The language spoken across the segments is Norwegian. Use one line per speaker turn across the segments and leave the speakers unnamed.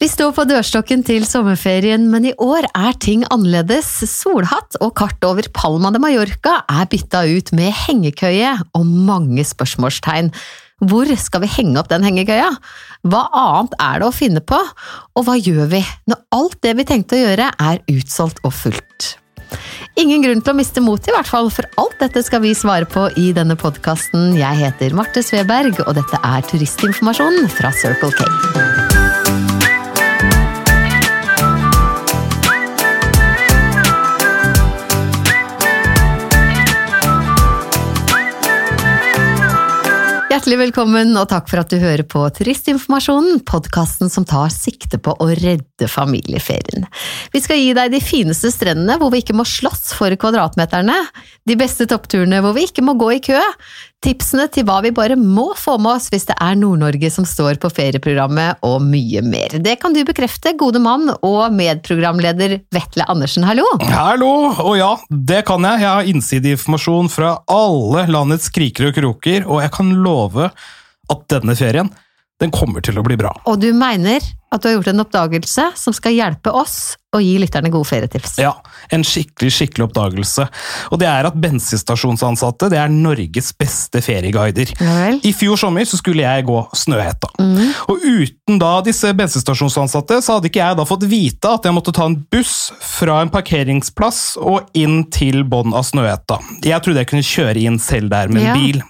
Vi står på dørstokken til sommerferien, men i år er ting annerledes. Solhatt og kart over Palma de Mallorca er bytta ut med hengekøye og mange spørsmålstegn. Hvor skal vi henge opp den hengekøya? Hva annet er det å finne på? Og hva gjør vi når alt det vi tenkte å gjøre er utsolgt og fullt? Ingen grunn til å miste motet, i hvert fall, for alt dette skal vi svare på i denne podkasten. Jeg heter Marte Sveberg, og dette er turistinformasjonen fra Circle K. Hjertelig velkommen, og takk for at du hører på Turistinformasjonen, podkasten som tar sikte på å redde familieferien. Vi skal gi deg de fineste strendene hvor vi ikke må slåss for kvadratmeterne, de beste toppturene hvor vi ikke må gå i kø, tipsene til hva vi bare må få med oss hvis det er Nord-Norge som står på ferieprogrammet, og mye mer. Det kan du bekrefte, gode mann og medprogramleder Vetle Andersen, hallo!
Hallo! Og ja, det kan jeg. Jeg har innsideinformasjon fra alle landets kriker og kroker, og jeg kan love at denne ferien, den kommer til å bli bra.
Og du mener at du har gjort en oppdagelse som skal hjelpe oss å gi lytterne gode ferietips.
Ja, en skikkelig, skikkelig oppdagelse. Og det er at bensinstasjonsansatte, det er Norges beste ferieguider.
Ja vel.
I fjor sommer så skulle jeg gå Snøhetta.
Mm.
Og uten da disse bensinstasjonsansatte, så hadde ikke jeg da fått vite at jeg måtte ta en buss fra en parkeringsplass og inn til bånn av Snøhetta. Jeg trodde jeg kunne kjøre inn selv der med en
Ja.
bil.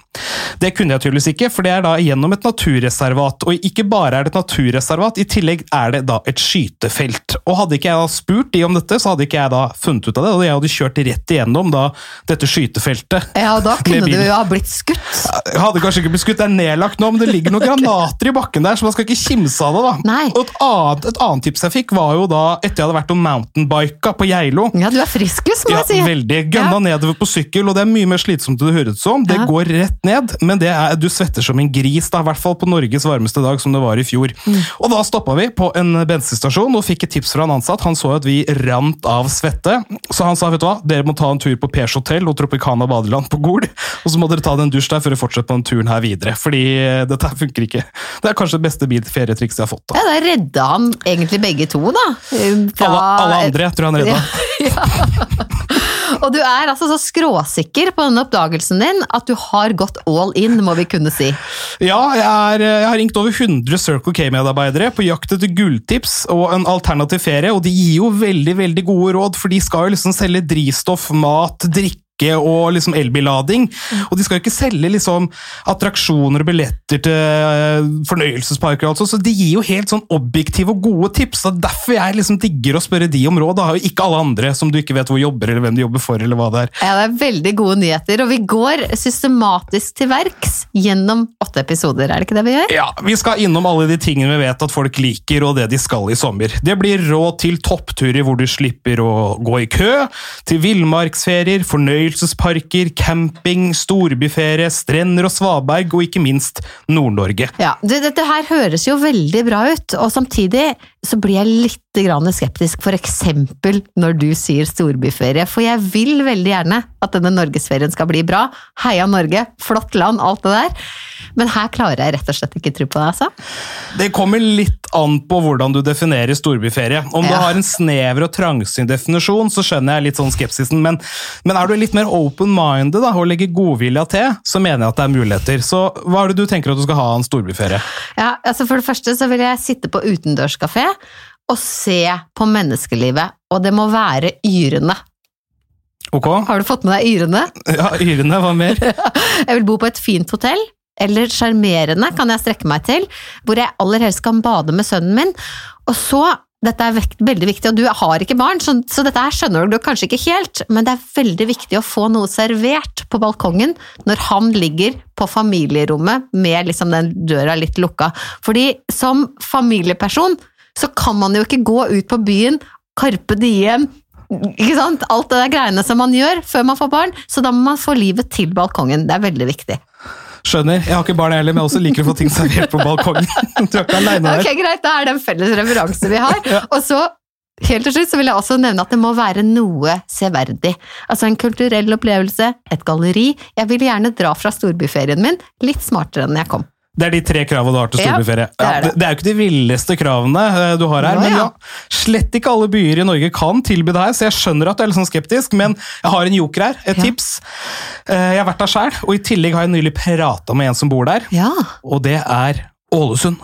Det kunne jeg tydeligvis ikke, for det er da gjennom et naturreservat. Og ikke bare er det et naturreservat, i tillegg er det da et skytefelt. Og hadde ikke jeg da spurt de om dette, så hadde ikke jeg da funnet ut av det, og jeg hadde kjørt rett igjennom da dette skytefeltet.
Ja, og da
Med
kunne du
bil.
jo ha blitt skutt.
Jeg hadde kanskje ikke blitt skutt, det er nedlagt nå, men det ligger noen granater i bakken der, så man skal ikke kimse av det, da.
Nei.
Og et annet, et annet tips jeg fikk, var jo da etter jeg hadde vært om mountainbika på Geilo.
Ja, du er friskus, må
Ja,
jeg si.
veldig. Gønna nedover på sykkel, og det er mye mer slitsomt enn det høres ut som. Det
Ja.
går rett ned, men det er, du svetter som en gris, da, i hvert fall på Norges varmeste dag, som det var i fjor.
Mm.
Og da stoppa vi på en bensinstasjon og fikk et tips fra en ansatt. Han så at vi rant av svette, så han sa vet du hva, dere må ta en tur på Pers hotell og Tropicana badeland på Gol, og så må dere ta en dusj der før dere fortsetter på den turen her videre, fordi eh, dette her funker ikke. Det er kanskje det beste bilferietrikset jeg har fått.
Ja,
da.
da redda han egentlig begge to, da. Um, fra-
Alle, alle andre tror jeg han redda.
Og du er altså så skråsikker på denne oppdagelsen din at du har gått all in, må vi kunne si.
Ja, jeg, er, jeg har ringt over 100 Circle K-medarbeidere på jakt etter gulltips og en alternativ ferie, og de gir jo veldig veldig gode råd, for de skal jo liksom selge drivstoff, mat, drikke og liksom elbillading. Og de skal jo ikke selge liksom attraksjoner og billetter til eh, fornøyelsesparker, og alt sånt, så de gir jo helt sånn objektive og gode tips. Det er derfor jeg liksom digger å spørre de om råd, da har jo ikke alle andre som du ikke vet hvor jobber, eller hvem de jobber for, eller hva det er.
Ja, det er veldig gode nyheter, og vi går systematisk til verks gjennom åtte episoder, er det ikke det vi gjør?
Ja, Vi skal innom alle de tingene vi vet at folk liker, og det de skal i sommer. Det blir råd til toppturer hvor du slipper å gå i kø, til villmarksferier, fornøyelsesparker, camping, storbyferie, strender og svaberg, og ikke minst Nord-Norge.
Ja, du, Dette her høres jo veldig bra ut, og samtidig så blir jeg litt grann skeptisk, for eksempel når du sier storbyferie, for jeg vil veldig gjerne at denne norgesferien skal bli bra. Heia Norge, flott land, alt det der. Men her klarer jeg rett og slett ikke tro på det, altså.
Det kommer litt an på hvordan du definerer storbyferie. Om du
Ja.
har en snever og trangsynt definisjon, så skjønner jeg litt sånn skepsisen, men, men er du litt mer open-minded da, og legger godvilja til, så mener jeg at det er muligheter. Så hva er det du tenker at du skal ha av en storbyferie?
Ja, altså For det første så vil jeg sitte på utendørskafé og se på menneskelivet, og det må være yrende.
Ok?
Har du fått med deg yrende?
Ja, yrene, hva mer?
Jeg vil bo på et fint hotell, eller sjarmerende kan jeg strekke meg til, hvor jeg aller helst kan bade med sønnen min. Og så, dette er vekt, veldig viktig, og du har ikke barn, så, så dette her skjønner du kanskje ikke helt, men det er veldig viktig å få noe servert på balkongen når han ligger på familierommet med liksom den døra litt lukka. Fordi som familieperson så kan man jo ikke gå ut på byen, karpe diem, ikke sant? Alt det der greiene som man gjør før man får barn, så da må man få livet til balkongen. Det er veldig viktig.
Skjønner. Jeg har ikke barn jeg heller, men jeg også liker å få ting servert på balkongen. Du er ikke alene
Ok,
der.
Greit, da er det en felles referanse vi har. Og så, helt til slutt, så vil jeg også nevne at det må være noe severdig. Altså en kulturell opplevelse, et galleri. Jeg vil gjerne dra fra storbyferien min litt smartere enn jeg kom.
Det er de tre kravene du har til
Ja,
storbyferie.
det er
Ja,
det.
det er jo ikke de villeste kravene eh, du har
Nå,
her, men ja.
ja.
Slett ikke alle byer i Norge kan tilby det her, så jeg skjønner at du er litt sånn skeptisk, men jeg har en joker her, et
Ja.
tips. Eh, Jeg har vært der sjøl, og i tillegg har jeg nylig prata med en som bor der,
Ja.
og det er Ålesund.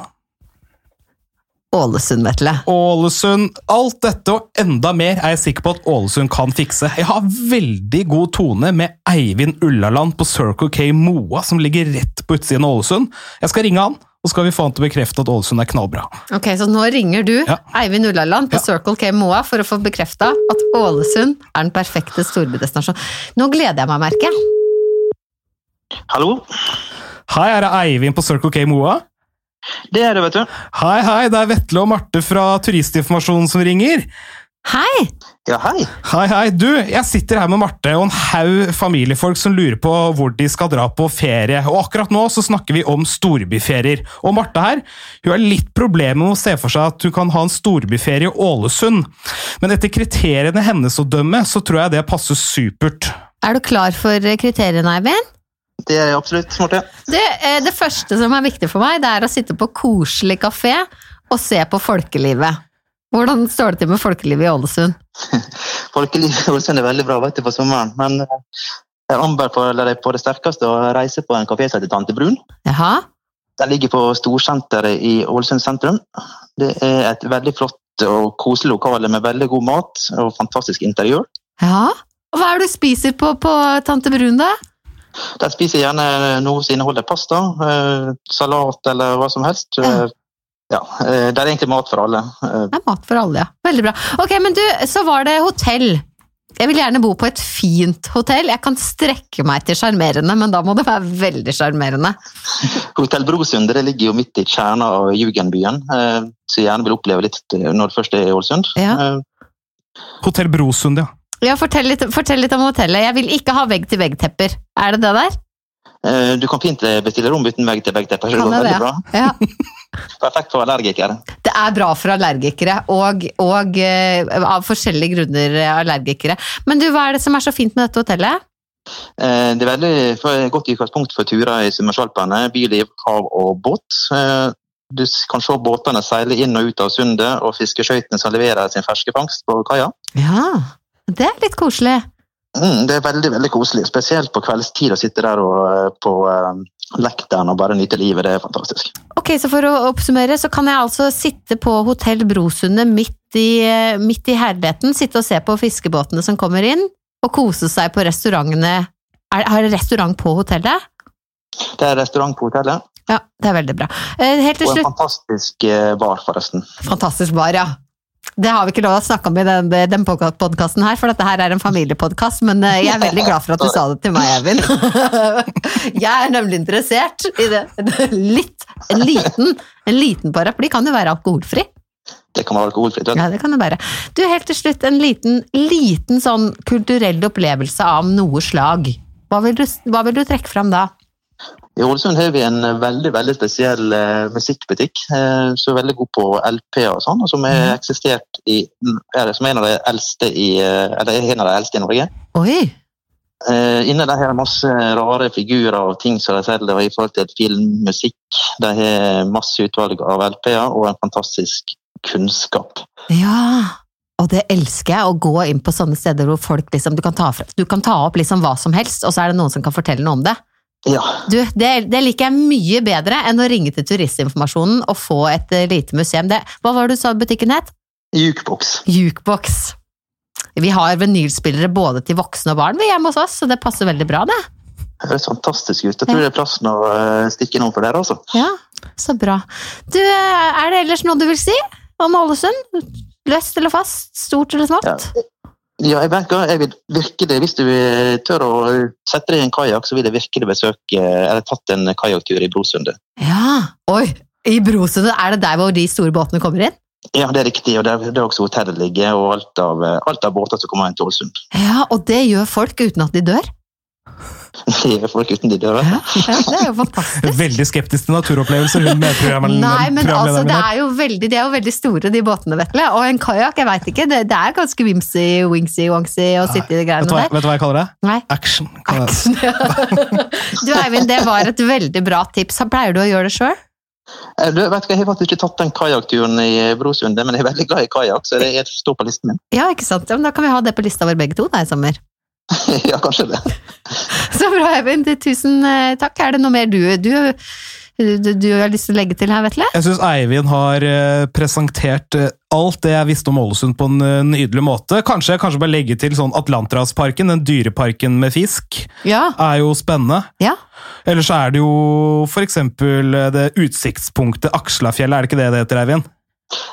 Ålesund, Vetle.
Ålesund. Alt dette og enda mer er jeg sikker på at Ålesund kan fikse. Jeg har veldig god tone med Eivind Ullaland på Circle K Moa, som ligger rett på utsiden av Ålesund. Jeg skal ringe han, og skal vi få han til å bekrefte at Ålesund er knallbra.
Ok, så nå ringer du
Ja.
Eivind Ullaland på Circle K Moa for å få bekrefta at Ålesund er den perfekte storbydestinasjonen. Nå gleder jeg meg, merker jeg.
Hallo?
Hei, her er Eivind på Circle K Moa.
Det er det, vet du.
Hei, hei, det er Vetle og Marte fra Turistinformasjonen som ringer.
Hei!
Ja, hei.
Hei, hei. Du, jeg sitter her med Marte og en haug familiefolk som lurer på hvor de skal dra på ferie. Og akkurat nå så snakker vi om storbyferier. Og Marte her, hun har litt problemer med å se for seg at hun kan ha en storbyferie i Ålesund. Men etter kriteriene hennes å dømme, så tror jeg det passer supert.
Er du klar for eh, kriteriene, Eivind?
Det er jeg absolutt, Marte.
Du, eh, det første som er viktig for meg, det er å sitte på koselig kafé og se på folkelivet. Hvordan står det til med folkelivet i Ålesund?
Folkelivet i Ålesund er veldig bra vet du, på sommeren, men eh, jeg anbefaler deg på det sterkeste å reise på en kafé som heter Tante Brun.
Jaha?
Den ligger på Storsenteret i Ålesund sentrum. Det er et veldig flott og koselig lokale med veldig god mat og fantastisk interiør.
Ja? Og Hva er det du spiser på på Tante Brun, da?
Der spiser jeg gjerne noe som inneholder pasta, eh, salat eller hva som helst.
Ja.
Eh, Ja, eh, Det er egentlig mat for alle. Eh,
Det er mat for alle, ja. Veldig bra. Ok, men du, så var det hotell. Jeg vil gjerne bo på et fint hotell. Jeg kan strekke meg til sjarmerende, men da må det være veldig sjarmerende.
Hotell Brosund det ligger jo midt i kjerna av Jugendbyen, eh, så jeg gjerne vil oppleve litt eh, når det først er i Ålesund.
Ja.
Eh,
Hotell Brosund, ja.
Ja, fortell litt, fortell litt om hotellet. Jeg vil ikke ha vegg-til-vegg-tepper. Er det det der?
eh, Du kan fint eh, bestille rom uten vegg til vegg. Det
Kan
går
jeg det?
veldig bra.
Ja.
Perfekt for allergikere.
Det er bra for allergikere, og, og eh, av forskjellige grunner eh, allergikere. Men du, hva er det som er så fint med dette hotellet?
Eh, Det er veldig for- godt utgangspunkt for turer i Summersvalpene, byliv, hav og båt. Eh, Du s- kan se båtene seile inn og ut av sundet, og fiskeskøytene som leverer sin ferske fangst på kaia.
Ja, det er litt koselig.
Mm, det er veldig veldig koselig, spesielt på kveldstid å sitte der og, eh, på eh, lekteren og bare nyte livet. Det er fantastisk.
Ok, så for å oppsummere, så kan jeg altså sitte på Hotell Brosundet midt i, eh, midt i herligheten, sitte og se på fiskebåtene som kommer inn, og kose seg på restaurantene. Er, har dere restaurant på hotellet?
Det er restaurant på hotellet,
Ja, det er veldig bra. Eh, Helt til
og en
slutt,
fantastisk eh, bar, forresten.
fantastisk bar, ja. Det har vi ikke lov å snakke om i den, den podkasten her, for dette her er en familiepodkast, men eh, jeg er veldig glad for at du sa det til meg, Eivind. Jeg er nemlig interessert i det. Litt, en liten, en liten paraply kan jo være alkoholfri.
Det kan være alkoholfritt. vet du.
Ja, det kan det være. Du, helt til slutt, en liten, liten sånn kulturell opplevelse av noe slag. Hva vil du, hva vil du trekke fram da?
I Ålesund har vi en eh, veldig veldig spesiell eh, musikkbutikk eh, som er veldig god på LP og sånn, og som har
Mhm.
eksistert i mm, er, som er en av de eldste i, eh, eller er en av de eldste i Norge.
Oi!
Eh, inne der har de masse rare figurer og ting som de selger og i forhold til film, musikk. De har masse utvalg av LP-er og en fantastisk kunnskap.
Ja! Og det elsker jeg, å gå inn på sånne steder hvor folk liksom, du kan ta, fra, du kan ta opp liksom hva som helst, og så er det noen som kan fortelle noe om det.
Ja,
Du, det, det liker jeg mye bedre enn å ringe til turistinformasjonen og få et eh, lite museum. Det, hva var det du sa butikken het?
jukebox.
Jukebox. Vi har vinylspillere både til voksne og barn vi hjemme hos oss, så det passer veldig bra, det.
Det høres fantastisk ut. Jeg tror det er plassen å eh, stikke innom for dere, altså.
Ja, så bra. Du, eh, er det ellers noe du vil si om Ålesund? Løst eller fast? Stort eller smått?
Ja, jeg merker, jeg vil virkelig, Hvis du eh, tør å sette deg i en kajakk, så vil jeg virkelig besøke eh, Eller tatt en kajakktur i Brosundet.
Ja. Oi, i Brosundet, er det der hvor de store båtene kommer inn?
Ja, det er riktig. og Der det er også hotellet ligger, og alt av, eh, alt av båter som kommer inn til Ålesund.
Ja, og det gjør folk uten at de dør.
Det er folk uten de dører.
Ja, det er jo fantastisk.
Veldig skeptisk til naturopplevelser, hun medprogramlederen
Nei, men altså,
programlederen
det
her.
er jo veldig, de er jo veldig store, de båtene, Vetle. Og en kajakk, jeg veit ikke. Det, det er ganske vimsy, wingsy, wongsy å sitte i de
Vet du,
greiene
hva,
der.
vet du hva jeg kaller det?
Nei.
Action. kaller jeg det.
Action, ja. Du Eivind, det var et veldig bra tips. Pleier du å gjøre det sjøl?
Eh, Du, vet du, hva, jeg har faktisk ikke tatt den kajakkturen i Brosundet, men jeg er veldig glad i kajakk, så det er- står på listen min.
Ja, ikke sant. Ja, men da kan vi ha det på lista vår begge to da i sommer.
ja, kanskje det.
Så bra, Eivind. Tusen eh, takk. Er det noe mer du, du, du, du har lyst til å legge til her, Vetle?
Jeg syns Eivind har eh, presentert eh, alt det jeg visste om Ålesund på en eh, nydelig måte. Kanskje jeg kanskje bare legge til sånn Atlanterhavsparken, den dyreparken med fisk,
Ja.
er jo spennende.
Ja.
Eller så er det jo for eksempel eh, det utsiktspunktet Akslafjellet, er det ikke det det heter, Eivind?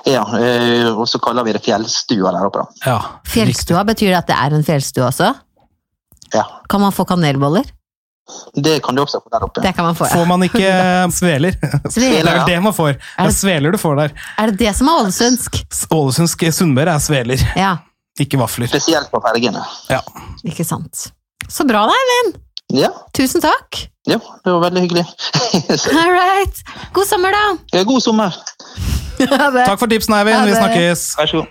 Ja, eh, og så kaller vi det fjellstua der oppe, da.
Ja.
Fjellstua, betyr det at det er en fjellstue også?
Ja,
Kan man få kanelboller?
det kan du også få der oppe.
Det kan man få, ja.
Får man ikke eh, sveler? Det
Sveler.
er vel det man får. Det
Er
er
det-
sveler du får der.
Er det det som er ålesundsk?
Ålesundsk Sunnmøre er sveler,
Ja,
ikke vafler.
Spesielt på fergene.
ikke sant. Så bra, da.
Ja,
Tusen takk.
ja, det var veldig hyggelig. Så,
All right. God sommer, da.
ja, God sommer.
Ha det.
Takk for tipsene,
Ja,
Eivind. Vi
det-
snakkes.
Vær så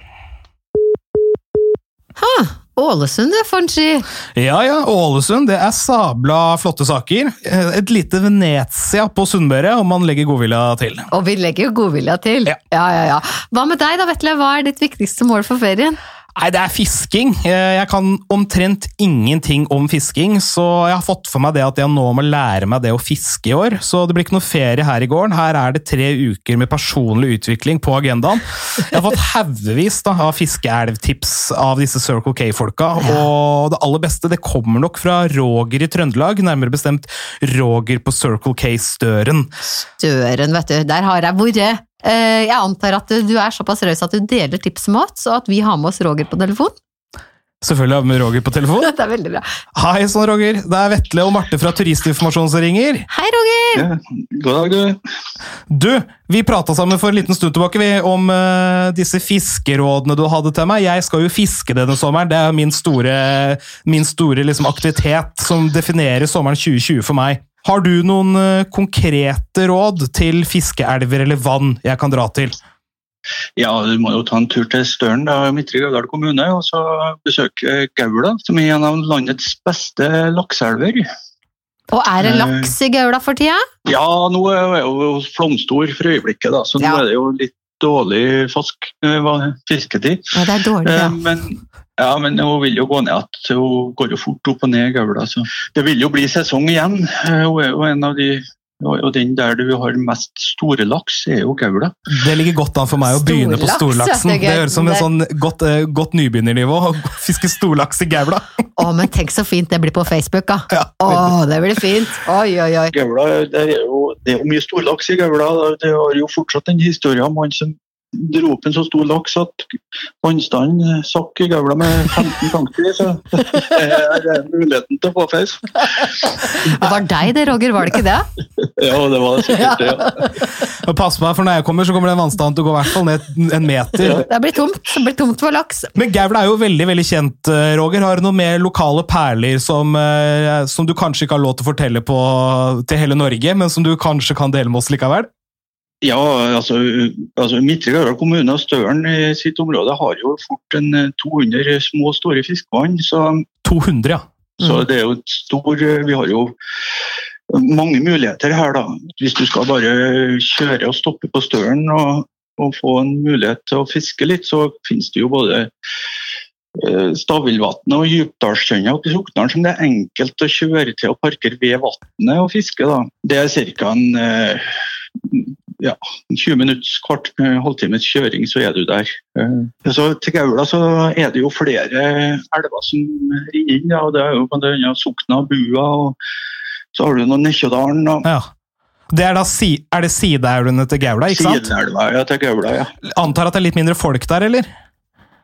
god.
Ålesund, du, Fonchi.
Ja, ja. Ålesund, det er sabla flotte saker. Eh, Et lite Venezia på Sunnmøre, om man legger godvilja til.
Og vi legger jo godvilja til.
Ja.
ja, ja. ja. Hva med deg, da, Vetle? Hva er ditt viktigste mål for ferien?
Nei, det er fisking. Eh, Jeg kan omtrent ingenting om fisking, så jeg har fått for meg det at jeg nå må lære meg det å fiske i år. Så det blir ikke noe ferie her i gården. Her er det tre uker med personlig utvikling på agendaen. Jeg har fått haugevis da, av fiskeelvtips av disse Circle K-folka, og det aller beste det kommer nok fra Roger i Trøndelag, nærmere bestemt Roger på Circle K Støren.
Døren, vet du. Der har jeg vært. Eh, Jeg antar at du er såpass raus at du deler tips med oss, og at vi har med oss Roger på telefon.
Selvfølgelig har vi med Roger på telefon.
Det er veldig bra.
Hei sann, Roger. Det er Vetle og Marte fra Turistinformasjon som ringer.
Hei, Roger!
God dag, du.
Du, vi prata sammen for en liten stund tilbake vi, om eh, disse fiskerådene du hadde til meg. Jeg skal jo fiske denne sommeren. Det er min store, min store liksom, aktivitet som definerer sommeren 2020 for meg. Har du noen eh, konkrete råd til fiskeelver eller vann jeg kan dra til?
Ja, du må jo ta en tur til Støren, da, Midtre Gauldal kommune, og så besøke eh, Gaula, som er en av landets beste lakseelver.
Og er det
Eh.
laks i Gaula for tida?
Ja, nå er jo flomstor for øyeblikket, da, så
Ja.
nå er det jo litt dårlig fask, eh, hva- fisketid.
Ja, det er dårlig.
Eh,
Ja.
Men, ja, men hun vil jo gå ned at hun går jo fort opp og ned i Gaula. Så. Det vil jo bli sesong igjen. Eh, Hun er jo en av de og og den der du har mest store laks, er jo Gaula.
Det ligger godt an for meg å begynne på
Storlaks, ja,
storlaksen.
det er gøy.
Det høres ut som en sånn godt, eh, godt nybegynnernivå å fiske storlaks i Gaula.
Å, men tenk så fint det blir på Facebook, da.
Ja,
Å, det blir fint. Oi, oi, oi.
Gaula, det er jo, det er jo mye storlaks i Gaula. Det har jo fortsatt den historien om han som dro opp en så stor laks at vannstanden sakk i Gaula med 15 tanker. Så det er muligheten til å få feis.
Det var deg det, Roger, var det ikke det?
Ja, det var det sikkert det. Ja.
Og Pass meg, for når jeg kommer, så kommer den vannstanden til å gå i hvert fall ned en meter.
Det blir tomt. Det blir tomt for laks.
Men Gaula er jo veldig veldig kjent, eh, Roger. Har du noen mer lokale perler som, eh, som du kanskje ikke har lov til å fortelle på, til hele Norge, men som du kanskje kan dele med oss likevel?
Ja, altså, altså Midtre Gauldal kommune og Støren i sitt område har jo fort en eh, 200 små og store fiskevann. Så,
200, ja.
så det er jo et stor eh, Vi har jo mange muligheter her, da. Hvis du skal bare kjøre og stoppe på Støren og, og få en mulighet til å fiske litt, så finnes det jo både eh, Stavillvatnet og Djupdalstjønna oppe i Soknaren som det er enkelt å kjøre til og parkere ved vannet og fiske. da. Det er ca. en eh, ja, 20 minutts, kvart eh, halvtimes kjøring, så er du der. Eh, Så til Gaula så er det jo flere elver som rinner inn. Ja, og det er jo blant annet Sokna, Bua, og så har du noen Nekkjådalen og
ja. Det er da si, er det sideelvene til Gaula, ikke sant?
Sideelva ja, til Gaula. Ja.
Antar at det er litt mindre folk der, eller?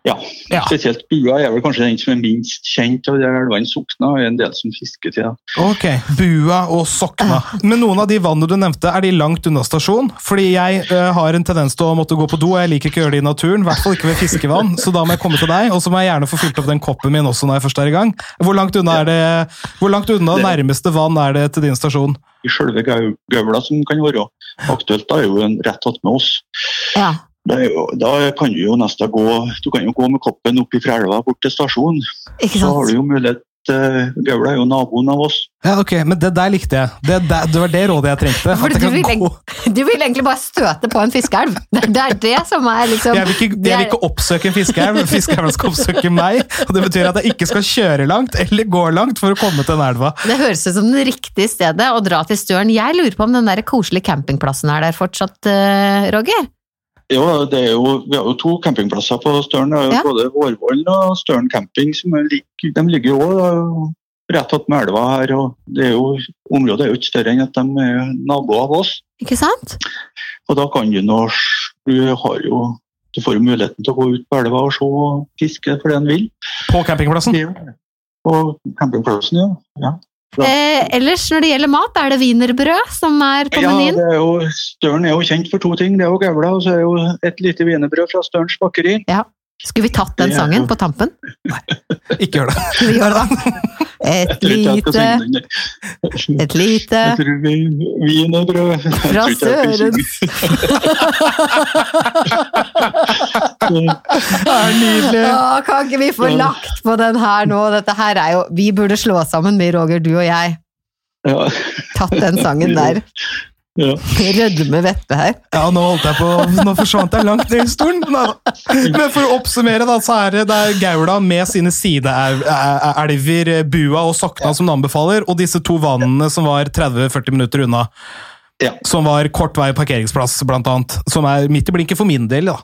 Ja.
Ja.
Spesielt bua er vel kanskje den som er minst kjent av de elvene Sokna, og er en del som fisker til. det.
Ok, Bua og Sokna. Men noen av de vannene du nevnte, er de langt unna stasjon? Fordi jeg eh, har en tendens til å måtte gå på do, og jeg liker ikke å gjøre det i naturen. I hvert fall ikke ved fiskevann, så da må jeg komme til deg. Og så må jeg gjerne få fylt opp den koppen min også når jeg først er i gang. Hvor langt unna, er det, hvor langt unna
Det-
nærmeste vann er det til din stasjon?
I selve gau- gaula som kan være aktuelt, da er jo en rett attmed oss.
Ja.
Det er jo, da kan du jo nesten gå Du kan jo gå med koppen opp fra elva bort til stasjonen.
Ikke
Da har du
sant?
jo mulighet eh, Gaula er jo naboen av oss.
Ja, ok, men det der likte jeg. Det, der- det var det rådet jeg trengte.
For
at jeg
du
kan
vil
gå-
Du vil egentlig bare støte på en fiskeelv. Det er- det er det som er liksom
Jeg vil ikke,
det
jeg vil
er-
ikke oppsøke en fiskeelv, fiskeelven skal oppsøke meg. Og det betyr at jeg ikke skal kjøre langt eller gå langt for å komme til den elva.
Det høres ut som det riktige stedet å dra til Støren. Jeg lurer på om den der koselige campingplassen er der fortsatt, eh, Roger?
Jo, det er jo, vi har jo to campingplasser på Støren. Det er jo
Ja.
Både Vårvollen og Støren camping. Som er lik- de ligger jo også, da, rett attmed elva her. og det er jo, Området er jo ikke større enn at de er naboer av oss.
Ikke sant?
Og da kan du nå s- Du har jo du får jo muligheten til å gå ut på elva og se og fiske for det en vil.
På campingplassen.
Det er jo- Og campingplassen, ja. ja. Ja.
Eh, ellers når det gjelder mat, er det wienerbrød som er på
Ja,
menyen?
det er jo, Støren er jo kjent for to ting. Det er jo gaula, og så er jo et lite wienerbrød fra Størens bakeri.
Skulle vi tatt den
Det er
sangen
jo-
på tampen?
Ikke gjør det.
Skulle vi gjøre det? Et
Jeg tror ikke jeg skal
lite,
synge den. Jeg
et lite
tror vi- Wienerbrød Jeg
fra
tror ikke jeg skal synge.
Sørens
Det er nydelig.
Å, Kan ikke vi få lagt på den her nå? Dette her er jo Vi burde slå sammen, vi, Roger, du og jeg.
Ja,
Tatt den sangen der.
ja.
Rødme vettet her.
Ja, nå holdt jeg på Nå forsvant jeg langt ned i stolen. Neida. Men for å oppsummere, da, så er det, det er Gaula med sine sideelver, eh, Bua og Sokna, som den anbefaler, og disse to vannene som var 30-40 minutter unna.
Ja.
Som var kort vei parkeringsplass, blant annet. Som er midt i blinken for min del, da.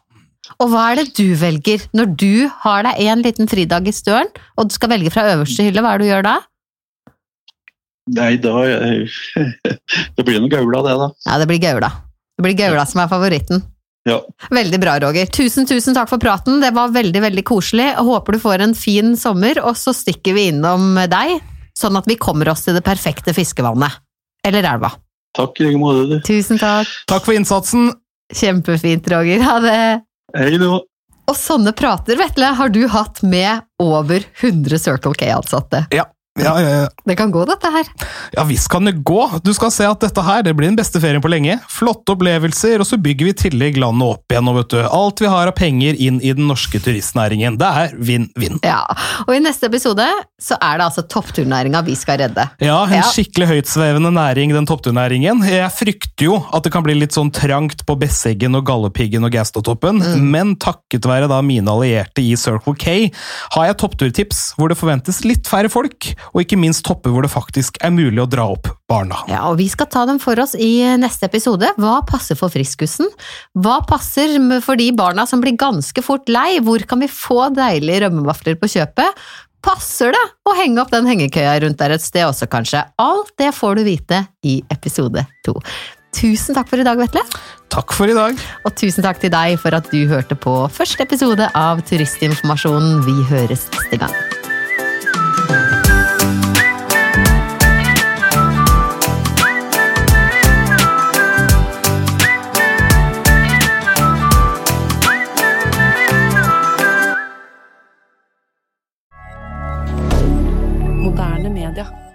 Og hva er det du velger når du har deg en liten fridag i støren, og du skal velge fra øverste hylle? Hva er det du gjør da?
Nei, da eh, Det blir noe gaula, det, da.
Ja, det blir Gaula. Det blir Gaula som er favoritten.
Ja.
Veldig bra, Roger. Tusen, tusen takk for praten. Det var veldig, veldig koselig. Jeg håper du får en fin sommer, og så stikker vi innom deg, sånn at vi kommer oss til det perfekte fiskevannet. Eller elva.
Takk i like måte, du.
Tusen takk.
Takk for innsatsen.
Kjempefint, Roger. Ha det.
Hei, da.
Og sånne prater, Vetle, har du hatt med over 100 Circle K-ansatte.
Ja, ja, ja.
Det kan gå, dette her.
Ja visst kan det gå! Du skal se at dette her det blir den beste ferien på lenge. Flotte opplevelser, og så bygger vi i tillegg landet opp igjen. Og vet du, alt vi har av penger inn i den norske turistnæringen. Det er vinn-vinn.
Ja, og i neste episode så er det altså toppturnæringa vi skal redde.
Ja, en
Ja.
skikkelig høytsvevende næring, den toppturnæringen. Jeg frykter jo at det kan bli litt sånn trangt på Besseggen og Galdhøpiggen og Gaustatoppen,
Mm.
men takket være da mine allierte i Circle K, har jeg toppturtips hvor det forventes litt færre folk, og ikke minst topper hvor det faktisk er mulig å dra opp barna.
Ja, og vi skal ta dem for oss i neste episode. Hva passer for friskusen? Hva passer med- for de barna som blir ganske fort lei? Hvor kan vi få deilige rømmevafler på kjøpet? Passer det å henge opp den hengekøya rundt der et sted også, kanskje? Alt det får du vite i episode to. Tusen takk for i dag, Vetle.
Takk for i dag!
Og tusen takk til deg for at du hørte på første episode av Turistinformasjonen. Vi høres neste gang.
Moderne media.